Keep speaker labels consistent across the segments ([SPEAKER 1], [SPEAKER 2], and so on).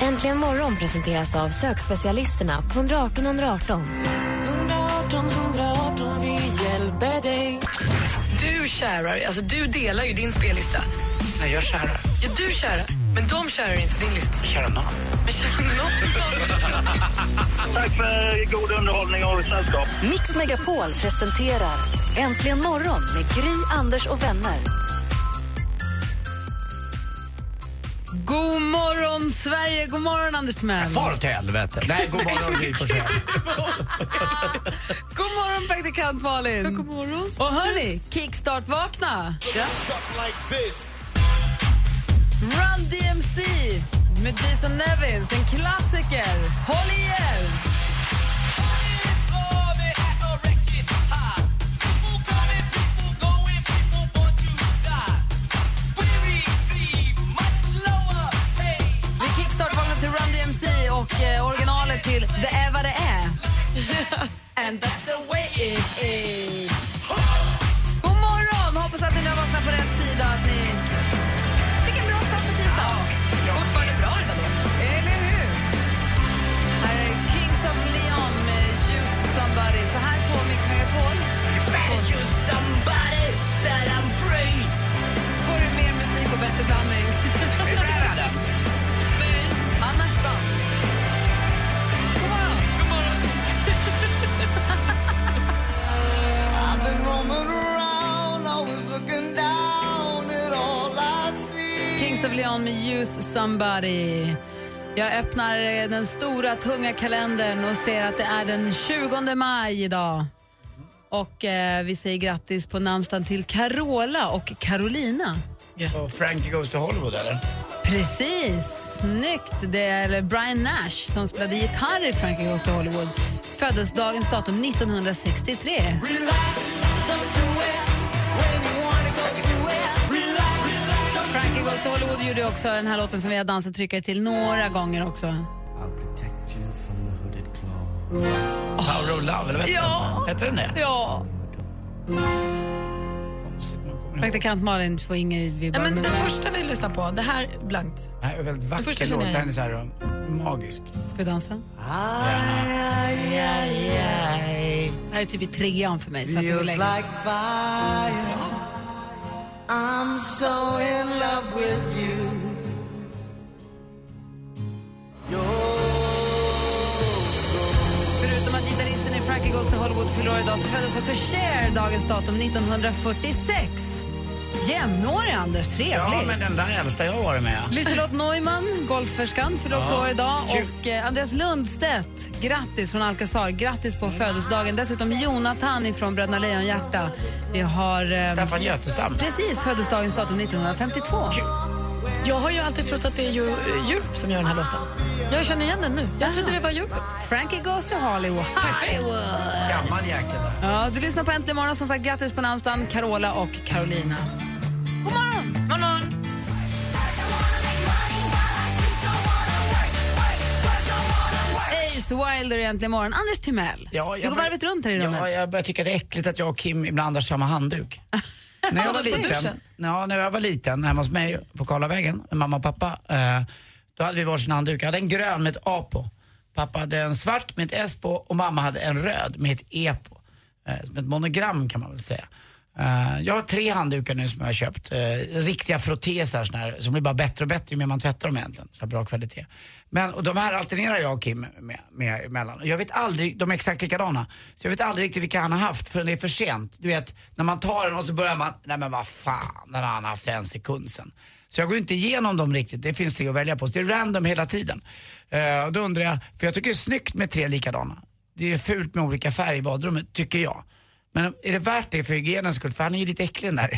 [SPEAKER 1] Äntligen morgon presenteras av sökspecialisterna på 118 118.
[SPEAKER 2] 118 118, vi hjälper dig
[SPEAKER 3] Du kärar, alltså du delar ju din spellista.
[SPEAKER 4] Nej, jag kärar.
[SPEAKER 3] Ja, du kärar, men de kärar inte din lista.
[SPEAKER 4] Kärar någon.
[SPEAKER 3] Men kärar någon av dem.
[SPEAKER 5] Tack för god underhållning och sällskap.
[SPEAKER 1] Mix Megapol presenterar Äntligen morgon med Gry, Anders och vänner.
[SPEAKER 2] God morgon, Sverige! God morgon, Anders Timell!
[SPEAKER 4] Far åt helvete. Nej, god morgon, Gry Forssell.
[SPEAKER 2] God morgon, praktikant Malin! God morgon. Och hörni, kickstart-vakna! Run DMC med Jason Nevins, en klassiker. Håll i er! Vi kickstartvagnar till Run DMC och eh, originalet till Det är vad det är. And that's the way it is. God morgon! Hoppas att ni har vaknat på rätt sida. Att ni fick en bra start på tisdagen. Fortfarande bra redan då. Eller hur? Här är Kings of Leon med Use Somebody. För här på Mix Megapol får du mer musik och bättre blandning. Annars då? God morgon! Kings of Leon med Use Somebody. Jag öppnar eh, den stora tunga kalendern och ser att det är den 20 maj idag. Och eh, vi säger grattis på namnsdagen till Carola och Carolina.
[SPEAKER 4] Och Frankie Goes to Hollywood, eller?
[SPEAKER 2] Precis, snyggt. Det är eller Brian Nash som spelade gitarr i Frankie Goes to Hollywood. Föddes dagens datum 1963. Frankie Goes to Hollywood gjorde också den här låten som vi har dansat tryckare till några gånger också.
[SPEAKER 4] Power of Love, eller vad
[SPEAKER 2] Ja.
[SPEAKER 4] Hette den det?
[SPEAKER 2] Ja.
[SPEAKER 4] Konstigt, man kommer ihåg.
[SPEAKER 2] Praktikant Malin får inget vi
[SPEAKER 3] Nej,
[SPEAKER 2] bara...
[SPEAKER 3] men den första vi lyssnar på, det här är blankt.
[SPEAKER 4] Det här är en väldigt
[SPEAKER 3] första
[SPEAKER 4] vacker
[SPEAKER 3] känner
[SPEAKER 4] låt.
[SPEAKER 3] jag
[SPEAKER 4] Den är så här um, magisk.
[SPEAKER 2] Ska vi dansa? Det här är typ i trean för mig. Så att det var länge. sedan. Förutom att gitarristen i Frankie Goes to Hollywood förlorade idag så föddes också Cher dagens datum 1946. Jämnårig, Anders. Trevligt.
[SPEAKER 4] Ja, men den där äldsta jag har varit med.
[SPEAKER 2] Liselott Neumann, golfverskan, fyller också
[SPEAKER 4] Ja,
[SPEAKER 2] år idag.
[SPEAKER 4] kul.
[SPEAKER 2] Och eh, Andreas Lundstedt, grattis från Alcazar. Grattis på födelsedagen. Dessutom Jonathan från Bröderna Lejonhjärta. Vi har... Eh,
[SPEAKER 4] Staffan Götestam.
[SPEAKER 2] precis födelsedagens datum 1952.
[SPEAKER 3] Jag har ju alltid trott att det är Euro, eh, Europe som gör den här låten. Jag känner igen den nu. Jag trodde det var Europe.
[SPEAKER 2] Frankie Goes to Hollywood. Hollywood.
[SPEAKER 4] Gammal jäkel där.
[SPEAKER 2] Ja, du lyssnar på Äntligen morgon. Som sagt, grattis på namnsdagen, Carola och Carolina. God morgon! Ace Wilder egentligen imorgon. Anders Timell,
[SPEAKER 4] Ja,
[SPEAKER 2] du
[SPEAKER 4] jag
[SPEAKER 2] går
[SPEAKER 4] bör-
[SPEAKER 2] varvet runt här i rummet.
[SPEAKER 4] Ja, jag börjar tycka det är äckligt att jag och Kim ibland har samma handduk. när jag var
[SPEAKER 3] På
[SPEAKER 4] liten,
[SPEAKER 3] duschen?
[SPEAKER 4] ja, när jag var liten hemma hos mig på Karlavägen med mamma och pappa, eh, då hade vi varsin handduk. Jag hade en grön med ett A på. Pappa hade en svart med ett S på och mamma hade en röd med ett E på. Eh, som ett monogram kan man väl säga. Eh, jag har tre handdukar nu som jag har köpt. Eh, riktiga frottéer såna här, som blir bara bättre och bättre ju mer man tvättar dem egentligen. Så här bra kvalitet. Men, och de här alternerar jag och Kim med, med emellan. Och Jag vet aldrig, de är exakt likadana. Så jag vet aldrig riktigt vilka han har haft förrän det är för sent. Du vet, när man tar den och så börjar man, nej men vad fan, den har han haft för en sekund sen. Så jag går inte igenom dem riktigt, det finns tre att välja på. Så det är random hela tiden. Eh, och då undrar jag, för jag tycker det är snyggt med tre likadana. Det är fult med olika färg i badrummet, tycker jag. Men är det värt det för hygienens skull? För han är ju lite äcklig den där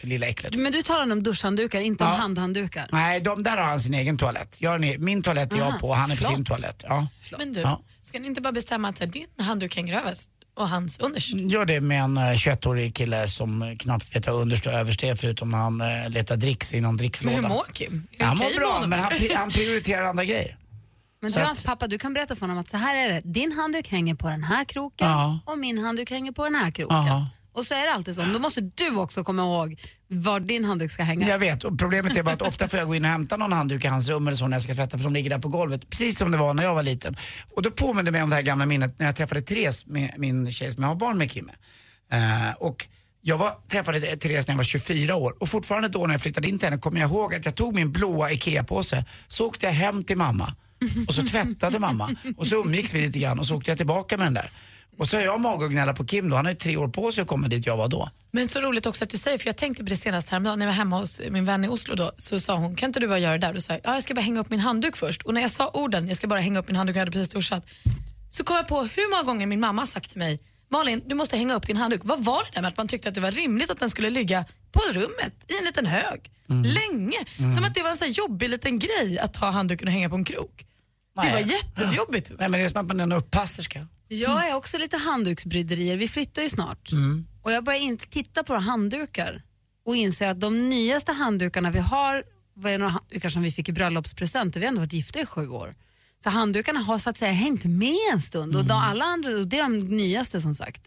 [SPEAKER 4] lilla äcklet.
[SPEAKER 2] Men du talar om duschhanddukar, inte om
[SPEAKER 4] Ja.
[SPEAKER 2] handhanddukar.
[SPEAKER 4] Nej, de där har han sin egen toalett. Jag har en, e- min toalett är jag på och han är på sin toalett. Ja.
[SPEAKER 3] Men du,
[SPEAKER 4] Ja.
[SPEAKER 3] Ska ni inte bara bestämma att så här, din handduk hänger överst och hans underst?
[SPEAKER 4] Gör det med en eh, 21-årig kille som eh, knappt vet vad underst och överst är förutom när han eh, letar dricks i någon
[SPEAKER 3] Men
[SPEAKER 4] drickslåda.
[SPEAKER 3] hur mår Kim? Är det
[SPEAKER 4] Han
[SPEAKER 3] okej
[SPEAKER 4] mår
[SPEAKER 3] med
[SPEAKER 4] bra,
[SPEAKER 3] honom?
[SPEAKER 4] men han, pri- han prioriterar andra grejer.
[SPEAKER 2] Men du hans pappa, du kan berätta för honom att så här är det. Din handduk hänger på den här kroken
[SPEAKER 4] Ja.
[SPEAKER 2] och min handduk hänger på den här kroken.
[SPEAKER 4] Aha.
[SPEAKER 2] Och så är det alltid så. Då måste du också komma ihåg var din handduk ska hänga.
[SPEAKER 4] Jag vet, och problemet är bara att ofta får jag gå in och hämta någon handduk i hans rum eller så när jag ska tvätta för de ligger där på golvet. Precis som det var när jag var liten. Och då påminner det mig om det här gamla minnet när jag träffade Therese, med, min tjej som jag har barn med, Kim. Eh, och jag var, träffade Therese när jag var 24 år och fortfarande då när jag flyttade in till henne kommer jag ihåg att jag tog min blåa IKEA-påse, så åkte jag hem till mamma och så tvättade mamma och så umgicks vi lite grann och så åkte jag tillbaka med den där. Och så har jag mage att gnälla på Kim då, han har ju tre år på sig att komma dit jag var då.
[SPEAKER 3] Men så roligt också att du säger, för jag tänkte på det senast häromdagen när jag var hemma hos min vän i Oslo då, så sa hon, kan inte du bara göra det där? Då sa jag, ja jag ska bara hänga upp min handduk först. Och när jag sa orden, jag ska bara hänga upp min handduk, jag hade precis duschat, så kom jag på hur många gånger min mamma har sagt till mig, Malin du måste hänga upp din handduk. Vad var det där med att man tyckte att det var rimligt att den skulle ligga på rummet i en liten hög?
[SPEAKER 4] Mm.
[SPEAKER 3] Länge. Som att det var en sån här jobbig liten grej att ta handduken och hänga på en krok. Det var
[SPEAKER 4] Nej.
[SPEAKER 3] jättejobbigt.
[SPEAKER 4] Nej men det är som att man är en uppasserska.
[SPEAKER 2] Jag är också lite handduksbryderier. Vi flyttar ju snart. Och jag börjar inte titta på handdukar och inser att de nyaste handdukarna vi har var ju några handdukar som vi fick i bröllopspresent och vi har ändå varit gifta i sju år. Så handdukarna har så att säga hängt med en stund och de, alla andra, och det är de nyaste som sagt.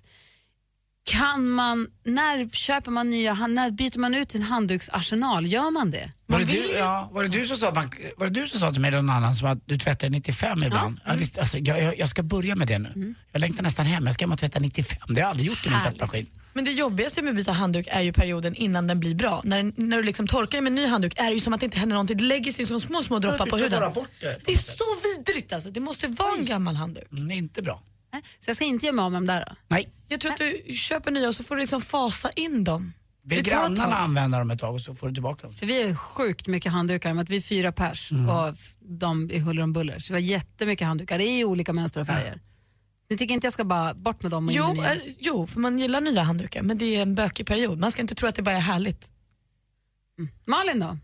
[SPEAKER 2] Kan man, när köper man nya, hand- när byter man ut sin handduksarsenal? Gör man det?
[SPEAKER 4] Var det, du, ja, var, det du som sa, att man- var det du som sa till mig eller någon annan som att du tvättar 95 ibland? Ja, visst, alltså, jag, jag, jag ska börja med det nu. Jag längtar nästan hem, jag ska hem och tvätta 95. Det har jag aldrig gjort i min
[SPEAKER 2] Härligt.
[SPEAKER 4] tvättmaskin.
[SPEAKER 3] Men det jobbigaste med att byta handduk är ju perioden innan den blir bra. När, den- när du liksom torkar den med en ny handduk är det ju som att det inte händer någonting. Det lägger sig som små, små droppar
[SPEAKER 4] du
[SPEAKER 3] på
[SPEAKER 4] tar
[SPEAKER 3] huden.
[SPEAKER 4] bara bort det.
[SPEAKER 3] är så vidrigt alltså. Det måste vara en gammal handduk.
[SPEAKER 4] Mm, det är inte bra.
[SPEAKER 2] Nej, Så jag ska inte göra mig av med dem där då?
[SPEAKER 4] Nej,
[SPEAKER 3] Jag tror att du köper nya och så får du liksom fasa in dem.
[SPEAKER 4] vill
[SPEAKER 3] Det tar ett
[SPEAKER 4] grannarna
[SPEAKER 3] tag.
[SPEAKER 4] använda dem ett tag och så får du tillbaka dem.
[SPEAKER 2] För vi har ju sjukt mycket handdukar, med att vi är fyra pers och f- de i huller om buller. Så vi har jättemycket handdukar i olika mönster och färger. Ni tycker inte jag ska bara bort med dem och in med
[SPEAKER 3] Jo,
[SPEAKER 2] nya?
[SPEAKER 3] eh, jo, för man gillar nya handdukar men det är en bökig period. Man ska inte tro att det bara är härligt.
[SPEAKER 2] Malin då?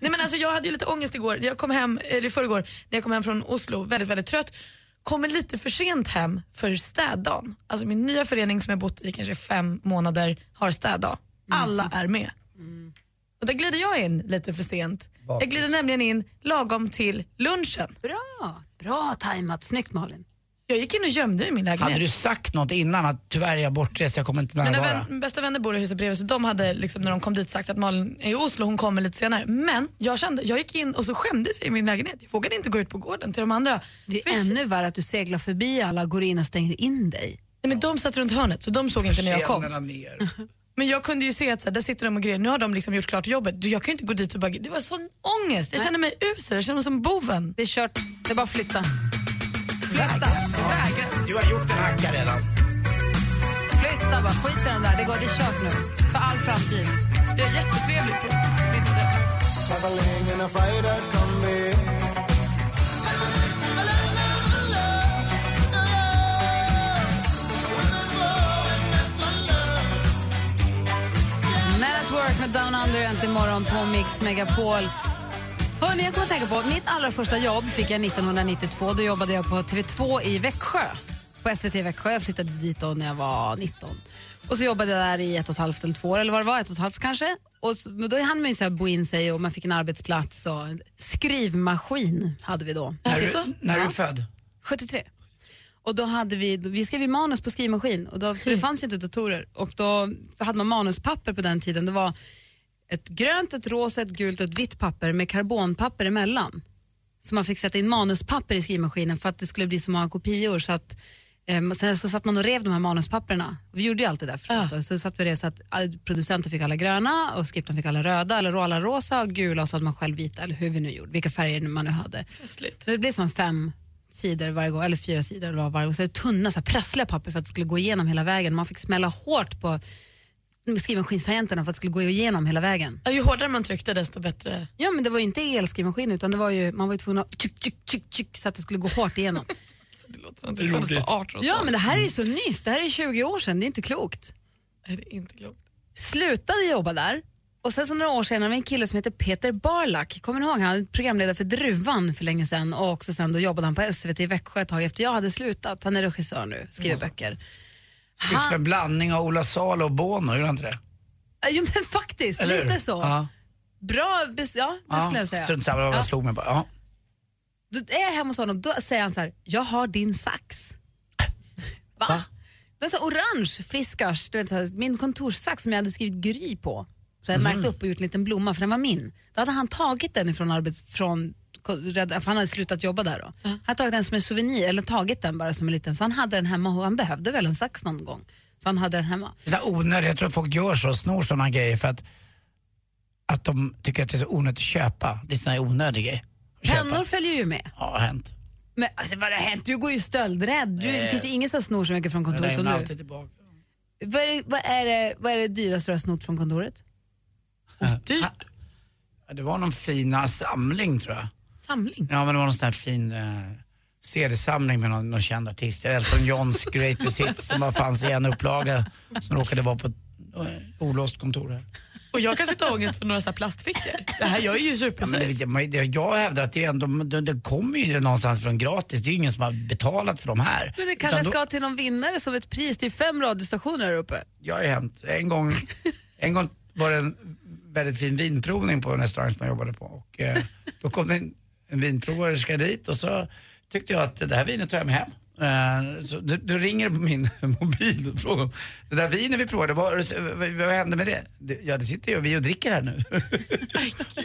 [SPEAKER 3] Nej, men alltså, jag hade ju lite ångest igår. Jag kom hem, eller i förrgår, när jag kom hem från Oslo, väldigt, väldigt trött. Kommer lite för sent hem för städdagen. Alltså min nya förening som jag bott i kanske fem månader har städdag.
[SPEAKER 2] Mm.
[SPEAKER 3] Alla är med. Och där glider jag in lite för sent. Jag glider nämligen in lagom till lunchen.
[SPEAKER 2] Bra, bra tajmat. Snyggt Malin.
[SPEAKER 3] Jag gick in och gömde mig i min
[SPEAKER 4] Hade du
[SPEAKER 3] lägenhet.
[SPEAKER 4] sagt något innan att tyvärr är jag bortrest, jag kommer inte
[SPEAKER 3] Mina
[SPEAKER 4] närvara?
[SPEAKER 3] vän, bästa vänner bor i huset bredvid så de hade liksom, när de kom dit sagt att Malin är i Oslo, hon kommer lite senare. Men jag kände, jag gick in och så skämdes jag i min lägenhet. Jag vågade inte gå ut på gården till de andra.
[SPEAKER 2] Det
[SPEAKER 3] För-
[SPEAKER 2] är ännu värre att du seglar förbi alla, går in och stänger in dig.
[SPEAKER 3] Nej, men de satt runt hörnet så de såg inte när jag kom.
[SPEAKER 4] Kännerna ner.
[SPEAKER 3] Men jag kunde ju se att så här, där sitter de och grejer. Nu har de liksom gjort klart jobbet. Du, jag kan ju inte gå dit och bara... Det var sån ångest. Jag kände mig usel. Jag kände mig som boven.
[SPEAKER 2] Det är kört, det är bara att flytta. Flytta,
[SPEAKER 4] Du har gjort en hacka redan.
[SPEAKER 2] flytta bara. Skit i den där, det, går, det är kört nu. För all framtid.
[SPEAKER 3] Det är jättetrevligt. på min toalett.
[SPEAKER 2] Man at Work med Down Under äntligen imorgon på Mix Megapol. Hörrni, jag kommer att tänka på, mitt allra första jobb fick jag 1992. Då jobbade jag på TV2 i Växjö. På SVT i Växjö. Jag flyttade dit då när jag var 19. Och så jobbade jag där i ett och ett halvt eller två år, eller vad det var, ett och ett halvt kanske. Och så, men då hann man ju så här bo in sig och man fick en arbetsplats och en skrivmaskin hade vi då.
[SPEAKER 4] När
[SPEAKER 2] Alltså?
[SPEAKER 4] du, när du är född?
[SPEAKER 2] 73. Och då hade vi, vi skrev ju manus på skrivmaskin och då, för det fanns ju inte datorer och då hade man manuspapper på den tiden. Det var ett grönt, ett rosa, ett gult och ett vitt papper med karbonpapper emellan. Så man fick sätta in manuspapper i skrivmaskinen för att det skulle bli så många kopior så att eh, sen så satt man och rev de här manuspapperna. Vi gjorde ju allt det där förstås då. Så satt vi det så att all- producenten fick alla gröna och skripten fick alla röda eller alla rosa och gula och så hade man själv vita eller hur vi nu gjorde, vilka färger man nu hade.
[SPEAKER 3] Festligt.
[SPEAKER 2] Så det blir som fem sidor varje gång, eller fyra sidor eller vad varje gång. Så det är tunna, så här, prassliga papper för att det skulle gå igenom hela vägen. Man fick smälla hårt på skrivmaskinssagenterna för att det skulle gå igenom hela vägen.
[SPEAKER 3] Ja, ju hårdare man tryckte desto bättre.
[SPEAKER 2] Ja men det var ju inte elskrivmaskin utan det var ju, man var ju tvungen att tjuk, tjuk, tjuk, tjuk, så att det skulle gå hårt igenom.
[SPEAKER 3] Alltså, Det låter som att det föddes på 18
[SPEAKER 2] ja men det här är ju så nyss, det här är 20 år sedan, det är inte klokt.
[SPEAKER 3] Nej, det är inte klokt.
[SPEAKER 2] Slutade jobba där, Och sen så några år senare var en kille som heter Peter Barlack. Kommer ni ihåg? Han var programledare för Druvan för länge sedan och också sen då jobbade han på SVT i Växjö ett tag efter jag hade slutat. Han är regissör nu, skriver böcker.
[SPEAKER 4] Det är som en blandning av Ola Salo och Bono, gjorde han inte det?
[SPEAKER 2] Äh, Jo men faktiskt,
[SPEAKER 4] Eller
[SPEAKER 2] lite
[SPEAKER 4] hur?
[SPEAKER 2] så.
[SPEAKER 4] Ja.
[SPEAKER 2] Bra, bes- ja det skulle jag säga.
[SPEAKER 4] Strunt samma vad
[SPEAKER 2] Ja.
[SPEAKER 4] jag slog mig bara. Ja.
[SPEAKER 2] Då är jag hemma hos honom, då säger han så här, jag har din sax. Va?
[SPEAKER 4] Va?
[SPEAKER 2] Det är så orange fiskars, du vet, så här, min kontorssax som jag hade skrivit Gry på. Så jag
[SPEAKER 4] Mhm.
[SPEAKER 2] märkt upp och gjort en liten blomma för den var min. Då hade han tagit den ifrån arbets... Från, ko- red- för han hade slutat jobba där då. Han hade tagit den som en souvenir, eller tagit den bara som en liten. Så han hade den hemma och han behövde väl en sax någon gång. Så han hade den hemma.
[SPEAKER 4] Det är onödigt, jag tror folk gör så, snor sådana grejer för att, att de tycker att det är så onödigt att köpa. Det är sådana onödiga grejer. att köpa.
[SPEAKER 2] Pennor följer ju med.
[SPEAKER 4] Ja, har hänt.
[SPEAKER 2] Men alltså, vad har hänt? Du går ju stöldrädd. Du, det finns ju ingen som snor så mycket från
[SPEAKER 4] Det
[SPEAKER 2] kontoret som
[SPEAKER 4] lämnar
[SPEAKER 2] du.
[SPEAKER 4] alltid tillbaka.
[SPEAKER 2] Vad är, det- vad, är det, vad är det dyraste du har snott från kontoret?
[SPEAKER 3] Dyrt.
[SPEAKER 4] Ja, Det var någon fina samling tror jag.
[SPEAKER 3] Samling.
[SPEAKER 4] Ja, men det var någon sån här fin eh, CD-samling med någon, någon känd artist. Elton Johns Greatest Hits som bara fanns i en upplaga som råkade vara på ett eh, olåst kontor här.
[SPEAKER 3] Och jag kan sitta i ångest för några så här plastfickor. Det här, jag är ju
[SPEAKER 4] Ja, men
[SPEAKER 3] supersafe.
[SPEAKER 4] det, det, det, jag hävdar att det, är ändå, det, det kommer ju någonstans från gratis. Det är ju ingen som har betalat för de här.
[SPEAKER 2] Men det
[SPEAKER 4] Utan
[SPEAKER 2] kanske
[SPEAKER 4] då-
[SPEAKER 2] ska till någon vinnare som ett pris. Det är fem radiostationer här uppe.
[SPEAKER 4] Jag har ju hänt. En gång, en gång var det en väldigt fin vinprovning på en restaurang som jag jobbade på. Och, eh, då kom det en, en vinproverska dit och så tyckte jag att det här vinet tar jag med hem. Eh, så då, då ringer det på min mobil och frågar om det där vinet vi provade, vad, vad, vad hände med det? det? Ja, det sitter ju vi och dricker här nu.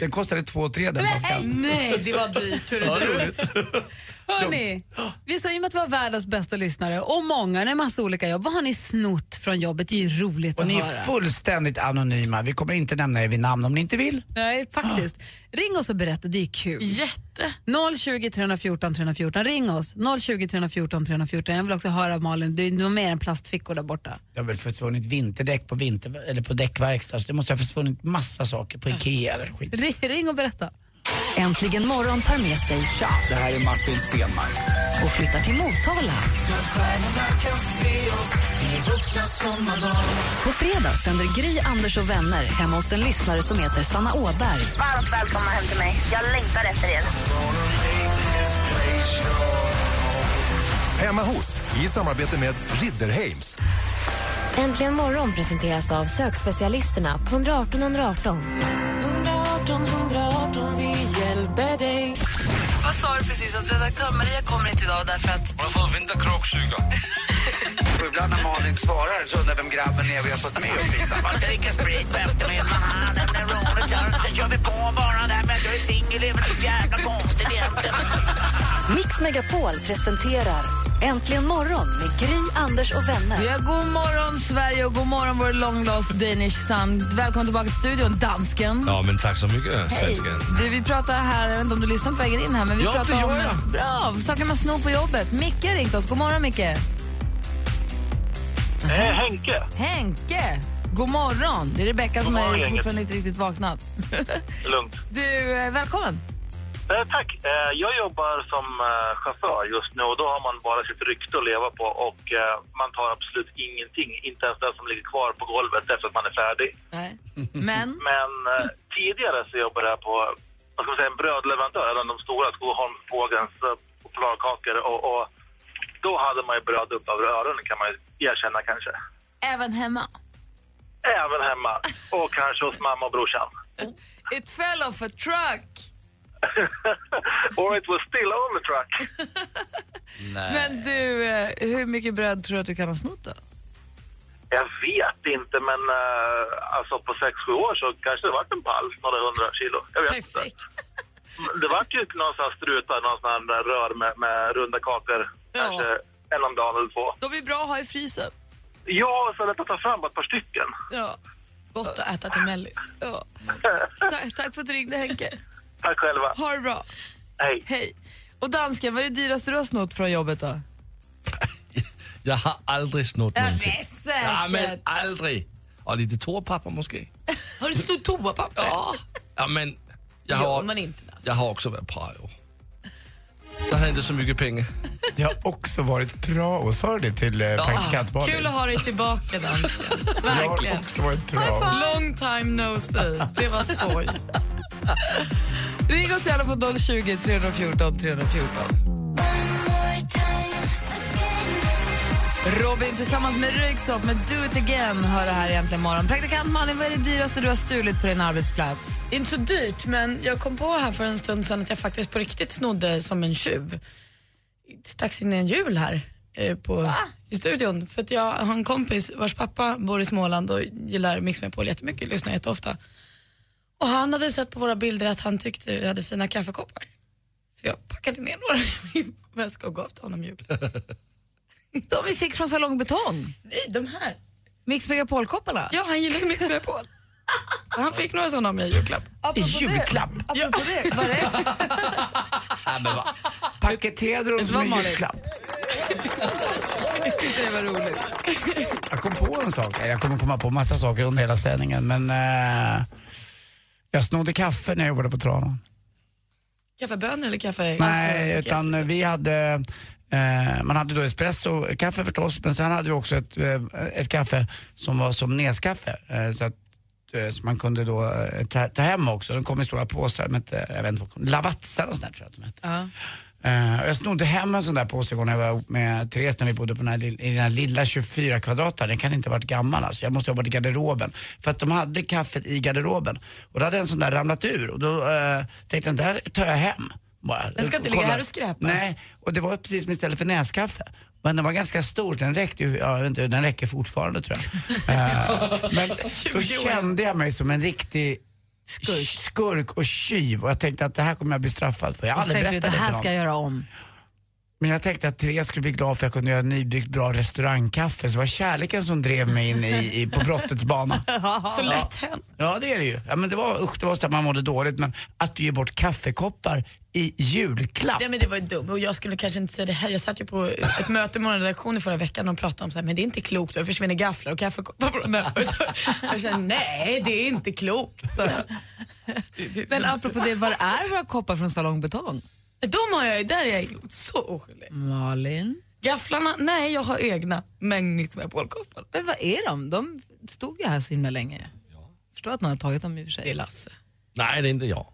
[SPEAKER 4] Den kostade två, tre den flaskan.
[SPEAKER 3] Nej, det var dyrt. hörru
[SPEAKER 4] Ja,
[SPEAKER 3] du.
[SPEAKER 4] roligt.
[SPEAKER 2] Hörni, vi sa ju att vi var världens bästa lyssnare och många, en massa olika jobb. Vad har ni snott från jobbet? Det är ju roligt
[SPEAKER 4] Och
[SPEAKER 2] att
[SPEAKER 4] ni
[SPEAKER 2] höra.
[SPEAKER 4] är fullständigt anonyma. Vi kommer inte nämna er vid namn om ni inte vill.
[SPEAKER 2] Nej, faktiskt. Ring oss och berätta, det är kul.
[SPEAKER 3] Jätte.
[SPEAKER 2] 020 314 314, ring oss. 020 314 314. Jag vill också höra Malin, du är nog mer än plastfickor där borta.
[SPEAKER 4] Det har väl försvunnit vinterdäck på, vinter, eller på däckverkstad, så det måste ha försvunnit massa saker på Ikea eller skit.
[SPEAKER 2] Ring, ring och berätta.
[SPEAKER 6] Äntligen morgon tar med sig Shop
[SPEAKER 7] Det här är Martin Stenmark.
[SPEAKER 6] och flyttar till Motala. På fredag sänder Gry, Anders och vänner hemma hos en lyssnare som heter Sanna Åberg.
[SPEAKER 8] Varmt välkomna hem till mig. Jag längtar efter er.
[SPEAKER 9] Hemma hos, i samarbete med Ridderheims.
[SPEAKER 1] Äntligen morgon presenteras av sökspecialisterna på 118 118.
[SPEAKER 6] Vad sa du precis? Att redaktör Maria kommer inte idag därför att...
[SPEAKER 5] Hon har fått vinterkråksuga.
[SPEAKER 4] Ibland när Malin svarar så undrar vem grabben är vi har fått med och bitar. Man ska dricka sprit på eftermiddagen, haha, den är rolig, så- sen kör vi på bara där men jag är singel, det är väl så jävla konstigt egentligen.
[SPEAKER 6] Mix Megapol presenterar Äntligen morgon med Gry, Anders och vänner.
[SPEAKER 2] Ja, god morgon Sverige och god morgon vår long lost Danish son. Välkommen tillbaka till studion, dansken.
[SPEAKER 5] Ja, men tack så mycket, svensken.
[SPEAKER 2] Du, vi pratar här, jag vet inte om du lyssnar på vägen in här, men vi
[SPEAKER 5] Ja,
[SPEAKER 2] pratar
[SPEAKER 5] det
[SPEAKER 2] om
[SPEAKER 5] gör jag.
[SPEAKER 2] bra, saker man snor på jobbet. Micke har ringt oss. God morgon, Micke.
[SPEAKER 5] Eh, Henke.
[SPEAKER 2] Henke, god morgon. Det är Rebecka som
[SPEAKER 5] morgon,
[SPEAKER 2] är
[SPEAKER 5] gänget.
[SPEAKER 2] fortfarande inte riktigt vaknat.
[SPEAKER 5] Lugnt.
[SPEAKER 2] Du, eh, välkommen.
[SPEAKER 5] Eh, tack. Eh, jag jobbar som eh, chaufför just nu och då har man bara sitt rykte att leva på och eh, man tar absolut ingenting, inte ens det som ligger kvar på golvet efter att man är färdig.
[SPEAKER 2] Nej. Men,
[SPEAKER 5] Men eh, tidigare så jobbade jag på vad ska man säga, en brödleverantör, en av de stora, Skoholms, Pågens eh, chokladkakor och, och då hade man ju bröd upp över öronen kan man ju erkänna kanske.
[SPEAKER 2] även hemma.
[SPEAKER 5] Även hemma och kanske hos mamma och brorsan.
[SPEAKER 2] It fell off a truck.
[SPEAKER 5] Or it was still on the truck.
[SPEAKER 2] Men du, eh, hur mycket bröd tror du att du kan ha snott då?
[SPEAKER 5] Jag vet inte, men eh, alltså på sex sju år så kanske det vart en pall, några hundra kilo. Jag vet inte.
[SPEAKER 3] Perfekt.
[SPEAKER 5] Men Det vart ju någon sån här struta, någon sån här rör med, med runda kakor. Kanske en om dagen eller två.
[SPEAKER 3] De är bra att ha i frysen.
[SPEAKER 5] Ja, så lätt att ta fram bara ett par stycken.
[SPEAKER 3] Ja. Gott att äta till mellis. Ja.
[SPEAKER 2] Tack, tack för att du ringde Henke.
[SPEAKER 5] Tack själva.
[SPEAKER 2] Ha det bra.
[SPEAKER 5] Hej.
[SPEAKER 2] Hej. Och dansken, vad är det dyraste du har snott från jobbet då?
[SPEAKER 10] Jag har aldrig snott
[SPEAKER 2] Ja,
[SPEAKER 10] någonting.
[SPEAKER 2] det är säkert.
[SPEAKER 10] Ja, men aldrig. Och lite toapapper måske.
[SPEAKER 3] Har du snott toapapper?
[SPEAKER 10] Ja, ja men jag
[SPEAKER 3] Det gör
[SPEAKER 10] har,
[SPEAKER 3] man inte. alltså. Lasse.
[SPEAKER 10] jag har också varit prao. Jag hade inte så mycket pengar.
[SPEAKER 11] Det har också varit prao. Sa du det till eh, praktikant Malin?
[SPEAKER 3] Kul att ha dig tillbaka, dansken.
[SPEAKER 11] Jag har
[SPEAKER 3] Verkligen.
[SPEAKER 11] också varit prao.
[SPEAKER 3] Long time no see. Det var skoj.
[SPEAKER 2] Ring oss gärna på 020 314 314.
[SPEAKER 12] Robin tillsammans med Röyksopp med Do It Again hör det här egentligen imorgon. Praktikant Malin, vad är det dyraste du har stulit på din arbetsplats?
[SPEAKER 3] Inte så dyrt, men jag kom på här för en stund sedan att jag faktiskt på riktigt snodde som en tjuv. Strax innan jul här eh, på, i studion. För att jag har en kompis vars pappa bor i Småland och gillar Mix Megapol jättemycket, lyssnar jätteofta. Och han hade sett på våra bilder att han tyckte vi hade fina kaffekoppar. Så jag packade ner några i min väska och gav till honom i julklapp.
[SPEAKER 12] De vi fick från Salong Betong.
[SPEAKER 3] Nej, de här.
[SPEAKER 12] Mix Megapol-kopparna?
[SPEAKER 3] Ja, han gillar Mix Megapol. Och Han fick några sådana av mig i julklapp.
[SPEAKER 12] Apropå det- Julklapp? apropå det, var det
[SPEAKER 11] Paketerade de
[SPEAKER 3] Det
[SPEAKER 11] som
[SPEAKER 3] var
[SPEAKER 11] en
[SPEAKER 3] Malin.
[SPEAKER 11] julklapp?
[SPEAKER 2] Det var roligt.
[SPEAKER 4] Jag kom på en sak. Jag kommer komma på massa saker under hela sändningen men eh, jag snodde kaffe när jag jobbade på Tranan.
[SPEAKER 3] Kaffebönor eller kaffe?
[SPEAKER 4] Nej,
[SPEAKER 3] Alltså,
[SPEAKER 4] utan eh, vi hade, eh, man hade då espresso, kaffe förstås, men sen hade vi också ett, eh, ett kaffe som var som neskaffe. Eh, så att eh, som man kunde då eh, ta, ta hem också. De kom i stora påsar, med, eh, jag vet inte, vad- Lavazza och sånt där tror jag att de hette.
[SPEAKER 12] Ja.
[SPEAKER 4] Eh, och jag snodde hem en sån där påse igår när jag var ihop med Therese när vi bodde på den här, lill- i den här lilla 24 kvadrataren. Den kan inte ha varit gammal alltså. Jag måste ha varit i garderoben. För att de hade kaffet i garderoben. Och då hade en sån där ramlat ur och då eh, tänkte jag den där tar jag hem. Bara.
[SPEAKER 3] Den ska inte ligga här och skräpa.
[SPEAKER 4] Nej, och det var precis som istället för näskaffe. Men den var ganska stor, den räckte ju, ja, jag vet inte, den räcker fortfarande tror jag. Eh, men då kände jag mig som en riktig skurk. och tjuv och jag tänkte att det här kommer jag bli straffad för. Jag har
[SPEAKER 12] Och så
[SPEAKER 4] aldrig
[SPEAKER 12] tänkte du,
[SPEAKER 4] berättat
[SPEAKER 12] det här
[SPEAKER 4] för
[SPEAKER 12] ska jag
[SPEAKER 4] någon.
[SPEAKER 12] göra om.
[SPEAKER 4] Men jag tänkte att Therese skulle bli glad för jag kunde göra nybyggt bra restaurangkaffe. Så det var kärleken som drev mig in i, i, på brottets bana.
[SPEAKER 3] Så lätt
[SPEAKER 4] hänt. Ja det är det ju. Ja, men det var, usch, det var så att man mådde dåligt men att du ger bort kaffekoppar i julklapp.
[SPEAKER 3] Ja, men det var ju dumt och jag skulle kanske inte säga det här. Jag satt ju på ett möte med vår redaktion i förra veckan och de pratade om så här, men det är inte klokt och det försvinner gafflar och kaffekoppar på de där. Jag kände, nej det är inte klokt. Så,
[SPEAKER 2] Men apropå det, var är våra koppar från Salong Betong?
[SPEAKER 3] de har jag ju, där är jag ju så oskyldig.
[SPEAKER 2] Malin?
[SPEAKER 3] Gafflarna, nej jag har egna, men mitt med polkoppar.
[SPEAKER 2] Men vad är de? De stod ju här så himla länge. Förstår att någon har tagit dem i och för sig. Det är
[SPEAKER 3] Lasse.
[SPEAKER 10] Nej, det är inte jag.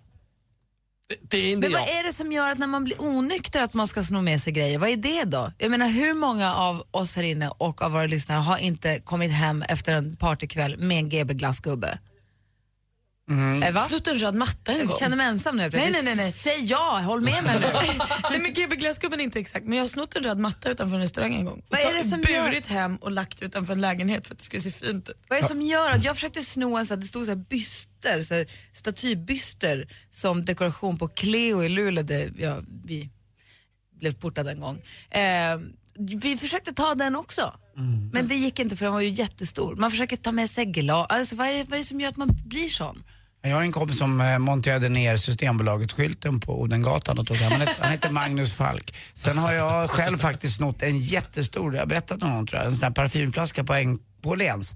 [SPEAKER 10] Det, det är inte
[SPEAKER 2] Men vad
[SPEAKER 10] jag.
[SPEAKER 2] är det som gör att när man blir onykter att man ska sno med sig grejer? Vad är det då? Jag menar hur många av oss här inne och av våra lyssnare har inte kommit hem efter en partykväll med en GB glassgubbe? Eh, va?
[SPEAKER 3] Snott en röd matta en gång.
[SPEAKER 2] Jag känner mig ensam nu helt
[SPEAKER 3] Mm. Nej, nej,
[SPEAKER 2] plötsligt.
[SPEAKER 3] nej, nej.
[SPEAKER 2] Säg ja, håll med mig nu.
[SPEAKER 3] nej men GB Glassgubben är inte exakt, men jag har snott en röd matta utanför en restaurang en gång. Och
[SPEAKER 2] Vad är
[SPEAKER 3] ta-
[SPEAKER 2] det som gör-
[SPEAKER 3] burit hem och lagt utanför en lägenhet för att det skulle se fint ut.
[SPEAKER 2] Vad är det som gör att jag försökte sno en så att det stod så här byster, så här statybyster som dekoration på Cleo i Luleå där ja, vi blev portade en gång. Eh, vi försökte ta den också.
[SPEAKER 4] Mm.
[SPEAKER 2] Men det gick inte för den var ju jättestor. Man försöker ta med sig glas. Alltså, vad, är det, vad är det som gör att man blir sån?
[SPEAKER 4] Jag har en kompis som eh, monterade ner Systembolaget-skylten på Odengatan och tog hem. Han heter, han heter Magnus Falk. Sen har jag själv faktiskt snott en jättestor, jag har berättat om honom tror jag, en sån här parfymflaska på en på Lens.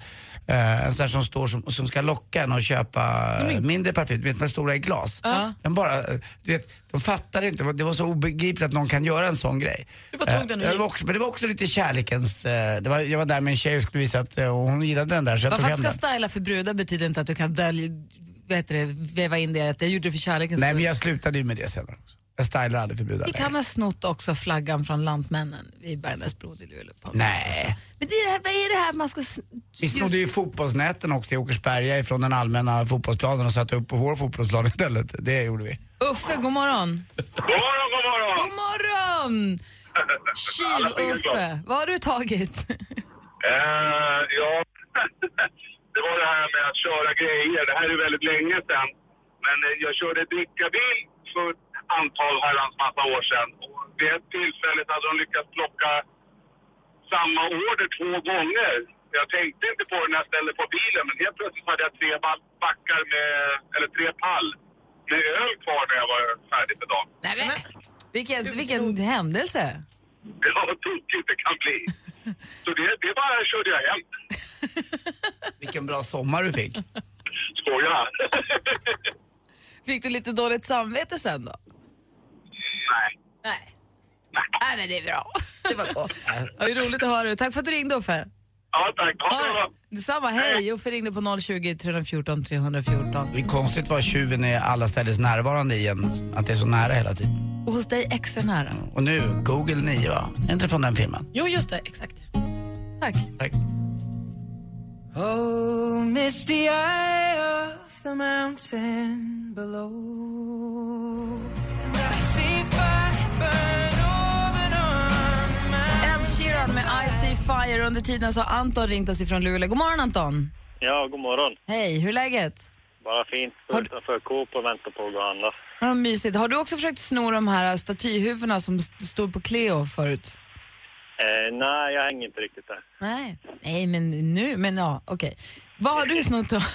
[SPEAKER 4] Eh, en sån där som står som, som ska locka en att köpa eh, mindre parfym, du vet de stora i glas.
[SPEAKER 3] Ja.
[SPEAKER 4] Den bara, eh, du vet, de fattar inte, det var så obegripligt att någon kan göra en sån grej.
[SPEAKER 3] Du bara tog den
[SPEAKER 4] Eh,
[SPEAKER 3] och
[SPEAKER 4] jag
[SPEAKER 3] gick.
[SPEAKER 4] var också, Men det var också lite kärlekens, eh, det var, jag var där med en tjej och skulle visa att eh, hon gillade den där så jag
[SPEAKER 2] Varför
[SPEAKER 4] tog
[SPEAKER 2] att
[SPEAKER 4] hem
[SPEAKER 2] ska
[SPEAKER 4] den.
[SPEAKER 2] styla för brudar betyder inte att du kan dölja, vad heter det, veva in det att jag gjorde det för kärlekens
[SPEAKER 4] Nej
[SPEAKER 2] skull.
[SPEAKER 4] men jag slutade ju med det senare också. Jag stylar aldrig för brudar
[SPEAKER 2] Vi
[SPEAKER 4] längre.
[SPEAKER 2] kan ha snott också flaggan från Lantmännen vid Bergnäsbron i Luleå. på-
[SPEAKER 4] Nej.
[SPEAKER 2] Men det är det här, vad är det här man ska... sn-
[SPEAKER 4] Vi snodde ju fotbollsnäten också i Åkersberga ifrån den allmänna fotbollsplanen och satte upp på vår fotbollsplan istället. Det gjorde vi.
[SPEAKER 2] Uffe, god morgon. God morgon, god morgon.
[SPEAKER 5] Alla fick en
[SPEAKER 2] Tjuv-Uffe,
[SPEAKER 5] klart.
[SPEAKER 2] vad har du tagit?
[SPEAKER 5] Eh, ja, det var det här med att köra grejer. Det här är ju väldigt länge sedan. Men eh, jag körde drickabil för ett antal herrans massa år sedan. Och vid ett tillfälle hade de lyckats plocka samma order två gånger. Jag tänkte inte på det när jag ställde på bilen, men helt plötsligt hade jag tre ba- backar med, eller tre pall med öl kvar när jag var färdig för dagen.
[SPEAKER 2] Vilken, vilken händelse.
[SPEAKER 5] Ja, vad tokigt det kan bli. Så det, det bara körde jag hem.
[SPEAKER 4] Vilken bra sommar du fick.
[SPEAKER 5] Skojar.
[SPEAKER 2] Fick du lite dåligt samvete sen då?
[SPEAKER 5] Nej.
[SPEAKER 2] Nej. Nej, men det är bra. Det var gott. Ja, det är roligt att höra det. Tack för att du ringde, Uffe.
[SPEAKER 13] Ja, tack. Ha det bra.
[SPEAKER 2] Detsamma. Hej. Uffe ringde på 020 314 314.
[SPEAKER 4] Det är konstigt vad tjuven är alla ställes närvarande i en, att det är så nära hela tiden.
[SPEAKER 2] Och hos dig extra nära.
[SPEAKER 4] Och nu, Google 9 va? Är inte det från den filmen?
[SPEAKER 3] Jo, just det. Exakt.
[SPEAKER 2] Tack.
[SPEAKER 4] Tack.
[SPEAKER 14] Oh, misty eye of the mountain below. And I see fire burn over and on the
[SPEAKER 2] Ed Sheeran med I see fire. Under tiden så har Anton ringt oss ifrån Luleå. God morgon, Anton.
[SPEAKER 5] Ja, god morgon.
[SPEAKER 2] Hej, hur är läget?
[SPEAKER 5] Bara fint. Står utanför Coop och väntar på att gå och handla.
[SPEAKER 2] Ja, mysigt. Har du också försökt sno de här statyhuvudena som st- stod på Cleo förut?
[SPEAKER 5] Eh, nej, jag hänger inte riktigt där.
[SPEAKER 2] Nej, nej men nu, men ja, okej. Vad har du snott då?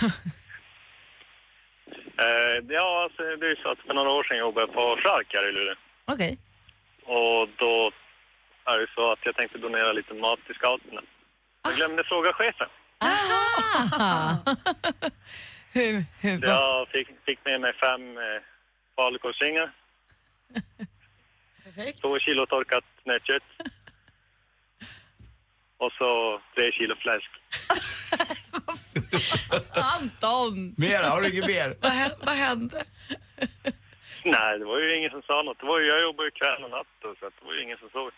[SPEAKER 5] Eh, ja, alltså, det är ju så att för några år sedan jobbade jag på Chark här i Luleå.
[SPEAKER 2] Okej.
[SPEAKER 5] Och då är det så att jag tänkte donera lite mat till scouterna. Jag glömde fråga chefen.
[SPEAKER 2] Aha! hur, hur, vad-
[SPEAKER 5] Jag fick, fick med mig fem eh, falukorvsringar.
[SPEAKER 3] Perfekt.
[SPEAKER 5] Två kilo torkat nötkött. Och så tre kilo fläsk.
[SPEAKER 2] Anton!
[SPEAKER 4] Mer, har du inget mer?
[SPEAKER 3] Vad hä- Vad hände?
[SPEAKER 5] Nej, det var ju ingen som sa något. Det var ju, jag jobbade ju kväll och natt då, så att det var ju ingen som såg.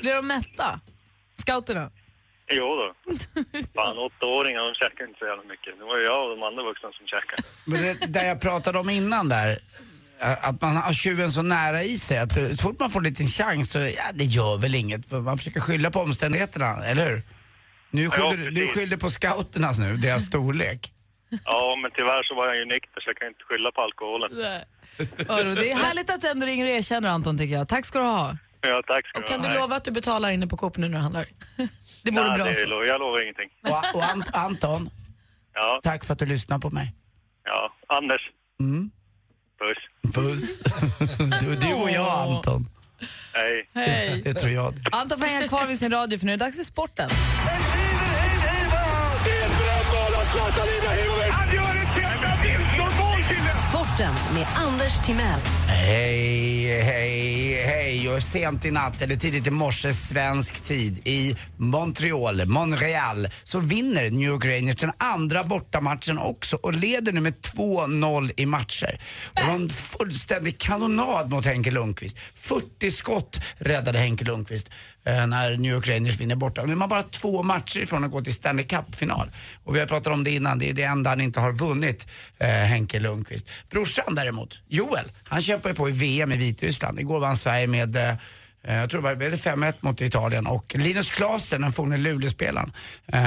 [SPEAKER 2] Blir de mätta? Scouterna?
[SPEAKER 5] Jo då. Fan, åttaåringar de käkar inte så jävla mycket. Det var ju jag och de andra vuxna som käkade.
[SPEAKER 4] Men det där jag pratade om innan där, eh, att man har tjuven så nära i sig att eh, så fort man får en liten chans så, ja det gör väl inget. för Man försöker skylla på omständigheterna, eller hur? Nu
[SPEAKER 5] Ja,
[SPEAKER 4] skyller, du- du
[SPEAKER 5] precis.
[SPEAKER 4] skyller på scouternas nu, deras storlek.
[SPEAKER 5] Ja, men tyvärr så var jag ju nykter så jag kan inte skylla på alkoholen.
[SPEAKER 2] Vadå, Det är härligt att du ändå ringer och erkänner Anton tycker jag. Tack ska du ha.
[SPEAKER 5] Ja, tack ska
[SPEAKER 3] Kan du
[SPEAKER 5] ha.
[SPEAKER 3] lova att du betalar inne på Coop nu när du handlar? Det
[SPEAKER 5] Nej,
[SPEAKER 3] vore bra.
[SPEAKER 5] det
[SPEAKER 3] så.
[SPEAKER 5] är lo- Jag lovar ingenting.
[SPEAKER 4] Och, och Ant- Anton,
[SPEAKER 5] Ja,
[SPEAKER 4] tack för att du lyssnar på mig.
[SPEAKER 5] ja. Anders.
[SPEAKER 4] Mm.
[SPEAKER 5] Puss.
[SPEAKER 4] Puss. Du, du och jag Anton.
[SPEAKER 5] Hej.
[SPEAKER 2] Hej.
[SPEAKER 4] Det tror jag.
[SPEAKER 2] Anton får hänga kvar vid sin radio för nu är det dags för sporten.
[SPEAKER 10] Sporten med Anders Timell.
[SPEAKER 4] Hej, hej, hej. Och sent i natt, eller tidigt i morse, svensk tid, i Montreal, Montreal, så vinner New York Rangers den andra bortamatchen också och leder nu med 2-0 i matcher. Och en fullständig kanonad mot Henke Lundqvist. 40 skott räddade Henke Lundqvist eh, när New York Rangers vinner borta. Nu är man bara två matcher ifrån att gå till Stanley Cup-final. Och vi har pratat om det innan, det är det enda han inte har vunnit, eh, Henke Lundqvist. Brorsan däremot, Joel, han kämpar ju på i VM i Vitryssland. Igår vann Sverige med eh, eh, jag tror det var blev det 5-1 mot Italien och Linus Klasen, den forne Luleåspelaren, eh,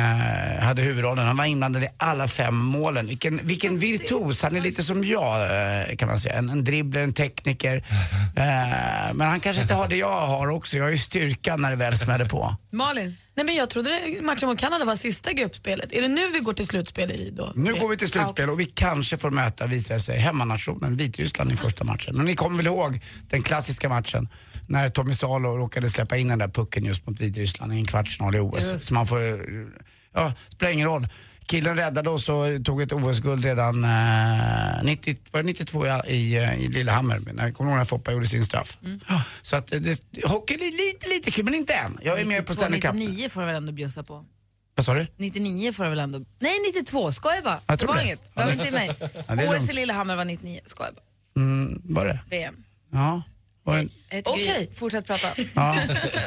[SPEAKER 4] hade huvudrollen. Han var inblandad i alla fem målen. Vilken, vilken virtuos, han är lite som jag eh, kan man säga. En, en dribbler, en tekniker. Eh, men han kanske inte har det jag har också. Jag har ju styrkan när det väl smäller på.
[SPEAKER 3] Malin? Nej, men jag trodde det- matchen mot Kanada var sista gruppspelet. Är det nu vi går till slutspel i då?
[SPEAKER 4] Nu går vi till slutspel och vi kanske får möta, visar det sig, hemmanationen Vitryssland i första matchen. Men ni kommer väl ihåg den klassiska matchen när Tommy Salo råkade släppa in den där pucken just mot Vitryssland i en kvartsfinal i OS.
[SPEAKER 15] Just.
[SPEAKER 4] Så man får, eh, ja, spelar ingen roll. Killen räddade oss och tog ett OS-guld redan eh, 90, var det 92 i, i, eh, i Lillehammer. Men Jag kommer ihåg när Foppa gjorde sin straff. Ja, Så att eh, det, hockeyn är lite, lite kul, men inte än. Jag är med på Stanley Cup.
[SPEAKER 2] 99 får du väl ändå bjussa på?
[SPEAKER 4] Vad sa du?
[SPEAKER 2] 99 får du väl ändå... Nej, 92. Skoja bara.
[SPEAKER 4] Jag tror
[SPEAKER 2] det var
[SPEAKER 4] det.
[SPEAKER 2] inget. Det var inte i mig.
[SPEAKER 4] Ja, det är
[SPEAKER 2] OS
[SPEAKER 4] lugnt.
[SPEAKER 2] i Lillehammer var 99. Skoja bara.
[SPEAKER 4] Mm, var det?
[SPEAKER 2] VM.
[SPEAKER 4] Ja. Var det?
[SPEAKER 2] Ett
[SPEAKER 3] Okej.
[SPEAKER 2] gry. fortsätt prata.
[SPEAKER 4] Ja.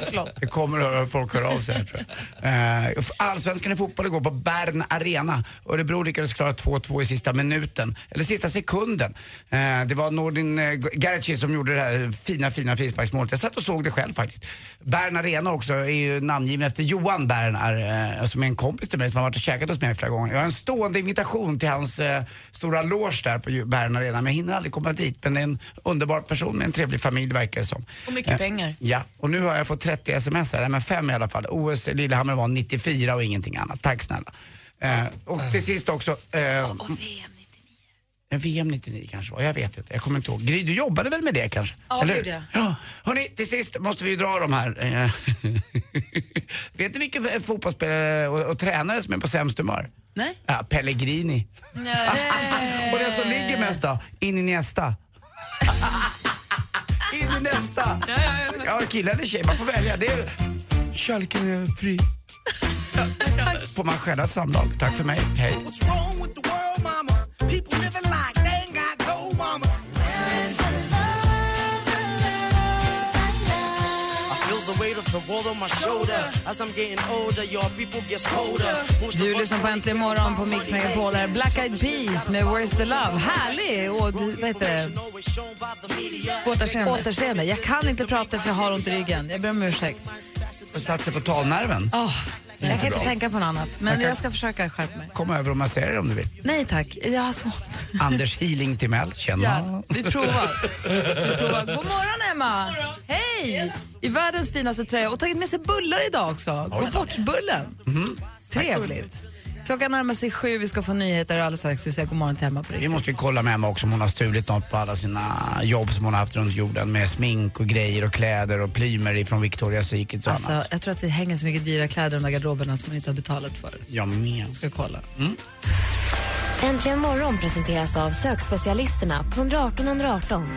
[SPEAKER 2] Förlåt.
[SPEAKER 4] Det kommer att höra folk höra av sig här, tror jag. Eh, Allsvenskan i fotboll igår på Bern Arena. Örebro lyckades klara 2-2 i sista minuten, eller sista sekunden. Eh, det var Nordin eh, Garici som gjorde det här fina, fina frisparksmålet. Jag satt och såg det själv faktiskt. Bern Arena också är ju namngiven efter Johan Bern, eh, som är en kompis till mig som har varit och käkat hos mig flera gånger. Jag har en stående invitation till hans eh, stora loge där på Ju- Bern Arena, men jag hinner aldrig komma dit. Men det är en underbar person med en trevlig familj verkar det som.
[SPEAKER 3] Och mycket
[SPEAKER 4] Eh,
[SPEAKER 3] pengar.
[SPEAKER 4] Ja, och nu har jag fått 30 sms här, nej, men fem i alla fall. OS i Lillehammer var 94 och ingenting annat. Tack snälla. Eh, och till sist också... Eh, och VM 99. VM 99 kanske var, jag vet inte. Jag kommer inte ihåg. Gry, du jobbade väl med det kanske?
[SPEAKER 2] Ja, det
[SPEAKER 4] Eller hur?
[SPEAKER 2] gjorde jag.
[SPEAKER 4] Ja, hörni, till sist måste vi ju dra de här. Eh, vet ni vilken fotbollsspelare och, och tränare som är på sämst humör?
[SPEAKER 2] Nej.
[SPEAKER 4] Ja, Pellegrini. Och den som ligger mest då? In i nästa. In i nästa. Ja, kille eller tjej, man får välja. Det är... Kärleken är fri. Får man skälla ett samlag? Tack för mig, hej.
[SPEAKER 16] wrong with the world, mama? People living like they ain't got no mama.
[SPEAKER 17] I feel the weight of the world on my shoulder. As I'm getting older, your people gets colder. Most of
[SPEAKER 2] Du
[SPEAKER 17] us
[SPEAKER 2] lyssnar på Äntligen morgon på Mix Megapol. Det här är Black Eyed Peas med Where's the Love. Härlig och vad heter det?
[SPEAKER 3] Återseende.
[SPEAKER 2] Återseende. Jag kan inte prata för jag har ont i ryggen. Jag ber om ursäkt.
[SPEAKER 4] Och satt sig på talnerven.
[SPEAKER 2] Åh, jag kan
[SPEAKER 4] Bra.
[SPEAKER 2] inte tänka på något annat, men
[SPEAKER 4] Jag kan-
[SPEAKER 2] jag ska försöka skärpa mig.
[SPEAKER 4] Kom över och massera dig om du vill.
[SPEAKER 2] Nej tack, jag har så ont.
[SPEAKER 4] Anders Healing Timell,
[SPEAKER 2] Ja,
[SPEAKER 4] känna.
[SPEAKER 2] vi provar. Vi provar. God morgon, Emma! Hej! I världens finaste tröja och tagit med sig bullar idag också. Gå bort-bullen.
[SPEAKER 4] Mhm.
[SPEAKER 2] Trevligt. Klockan närmar sig sju, vi ska få nyheter alldeles strax. Vi säger god morgon till Emma på
[SPEAKER 4] Vi
[SPEAKER 2] riktigt.
[SPEAKER 4] måste ju kolla med Emma också om hon har stulit något på alla sina jobb som hon har haft runt jorden med smink och grejer och kläder och plymer ifrån Victoria's Secret och
[SPEAKER 2] Alltså,
[SPEAKER 4] annat.
[SPEAKER 2] jag tror att det hänger så mycket dyra kläder i de där garderoberna som man inte har betalat för.
[SPEAKER 4] Jag med.
[SPEAKER 2] Ska kolla.
[SPEAKER 1] Äntligen morgon presenteras av sökspecialisterna på 118 118.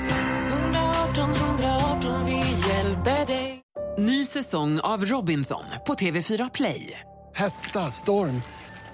[SPEAKER 18] 118 118, vi hjälper dig. Ny säsong av Robinson på TV4 Play.
[SPEAKER 19] Hetta, storm,